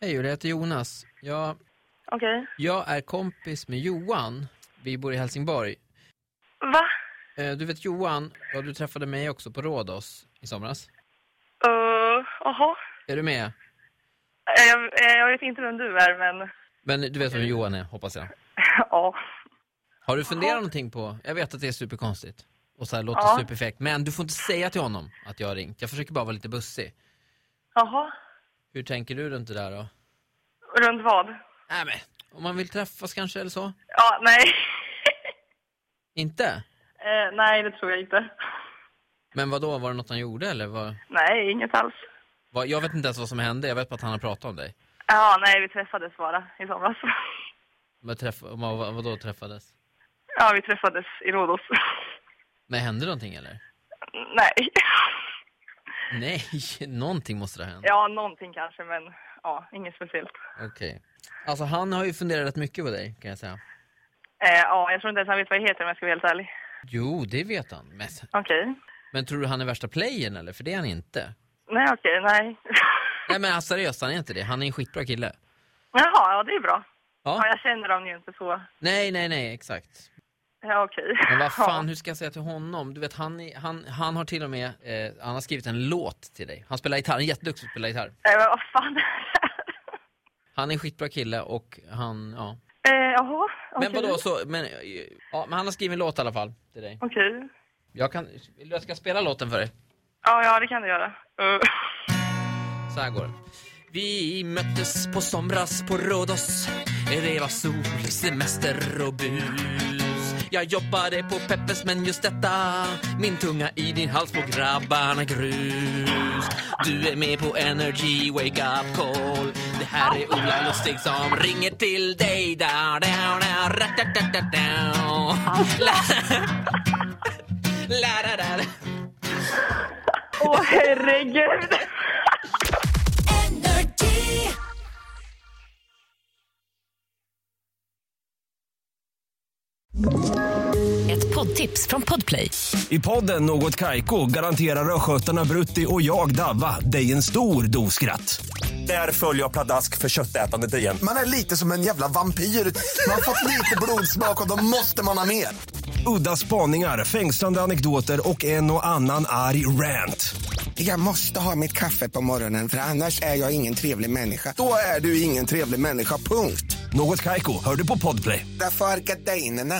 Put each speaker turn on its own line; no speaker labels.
Hej, jag heter Jonas. Jag,
Okej.
jag är kompis med Johan. Vi bor i Helsingborg.
Va?
Eh, Du vet Johan, ja, du träffade mig också på Rhodos i somras.
Eh, Jaha.
Är du med?
Eh, Jag, eh, jag vet inte vem du är, men...
Men du vet vem Johan är, hoppas jag.
ja.
Har du funderat någonting på, jag vet att det är superkonstigt och så här låter
Ja.
superfräckt, men du får inte säga till honom att jag har ringt. Jag försöker bara vara lite bussig.
Jaha.
Hur tänker du runt det där då?
Runt vad?
Nej men, om man vill träffas kanske eller så?
Ja, nej.
Inte?
Eh, nej, det tror jag inte.
Men vad då var det något han gjorde eller? Vad,
Nej, inget alls.
vad, jag vet inte ens vad som hände, jag vet bara att han har pratat om dig.
Ja, nej, vi träffades bara i somras.
Vad, träff, vad, vad vadå träffades?
ja, vi träffades i Rhodos.
Men hände någonting eller?
nej.
Nej, någonting måste det ha hänt.
ja, någonting kanske, men ja, inget speciellt.
Okej. Alltså han har ju funderat rätt mycket på dig kan jag säga.
Eh, ja, jag tror inte ens han vet vad jag heter om jag ska vara helt ärlig.
Jo, det vet han. Men,
Okej.
men tror du han är värsta playern eller? För det är han inte.
Nej, okej, nej.
Nej men alltså, seriöst, han är inte det. Han är en skitbra kille.
Jaha, ja, det är bra.
Ja.
Ja, jag känner dem ju inte så.
Nej, nej, nej, exakt.
Ja, okej.
Men vad
Ja.
fan, hur ska jag säga till honom? Du vet, han, är, han, han har till och med, eh, han har skrivit en låt till dig. Han spelar gitarr, han är jätteduktig på att spela gitarr.
Nej, men vad fan är det här?
Han är en skitbra kille och han, ja.
Eh, Jaha, okej.
Men vadå, så, men, eh, ja, men han har skrivit en låt i alla fall till dig.
Okej.
Jag kan, vill du att jag ska spela låten för dig?
Ja, ja, det kan du göra. Eh,
Så här går det. Vi möttes på somras på Rhodos. Det var sol, semester och bus. Jag jobbade på Peppes men just detta Min tunga i din hals på grabbarna grus Du är med på Energy Wake Up Call Det här är Ola Lustig som ringer till dig da, da, da, ra, da, da, da, da. La, la, da, da, da.
Åh, herregud!
Energy.
Ett poddtips från Podplay.
I podden Något Kaiko garanterar östgötarna Brutti och jag, Davva, dig en stor dos skratt. Där följer jag pladask för köttätandet igen.
Man är lite som en jävla vampyr. Man har fått lite blodsmak och då måste man ha mer.
Udda spaningar, fängslande anekdoter och en och annan arg rant.
Jag måste ha mitt kaffe på morgonen för annars är jag ingen trevlig människa.
Då är du ingen trevlig människa, punkt.
Något Kaiko, hör du på Podplay.
Därför arkadeinerna.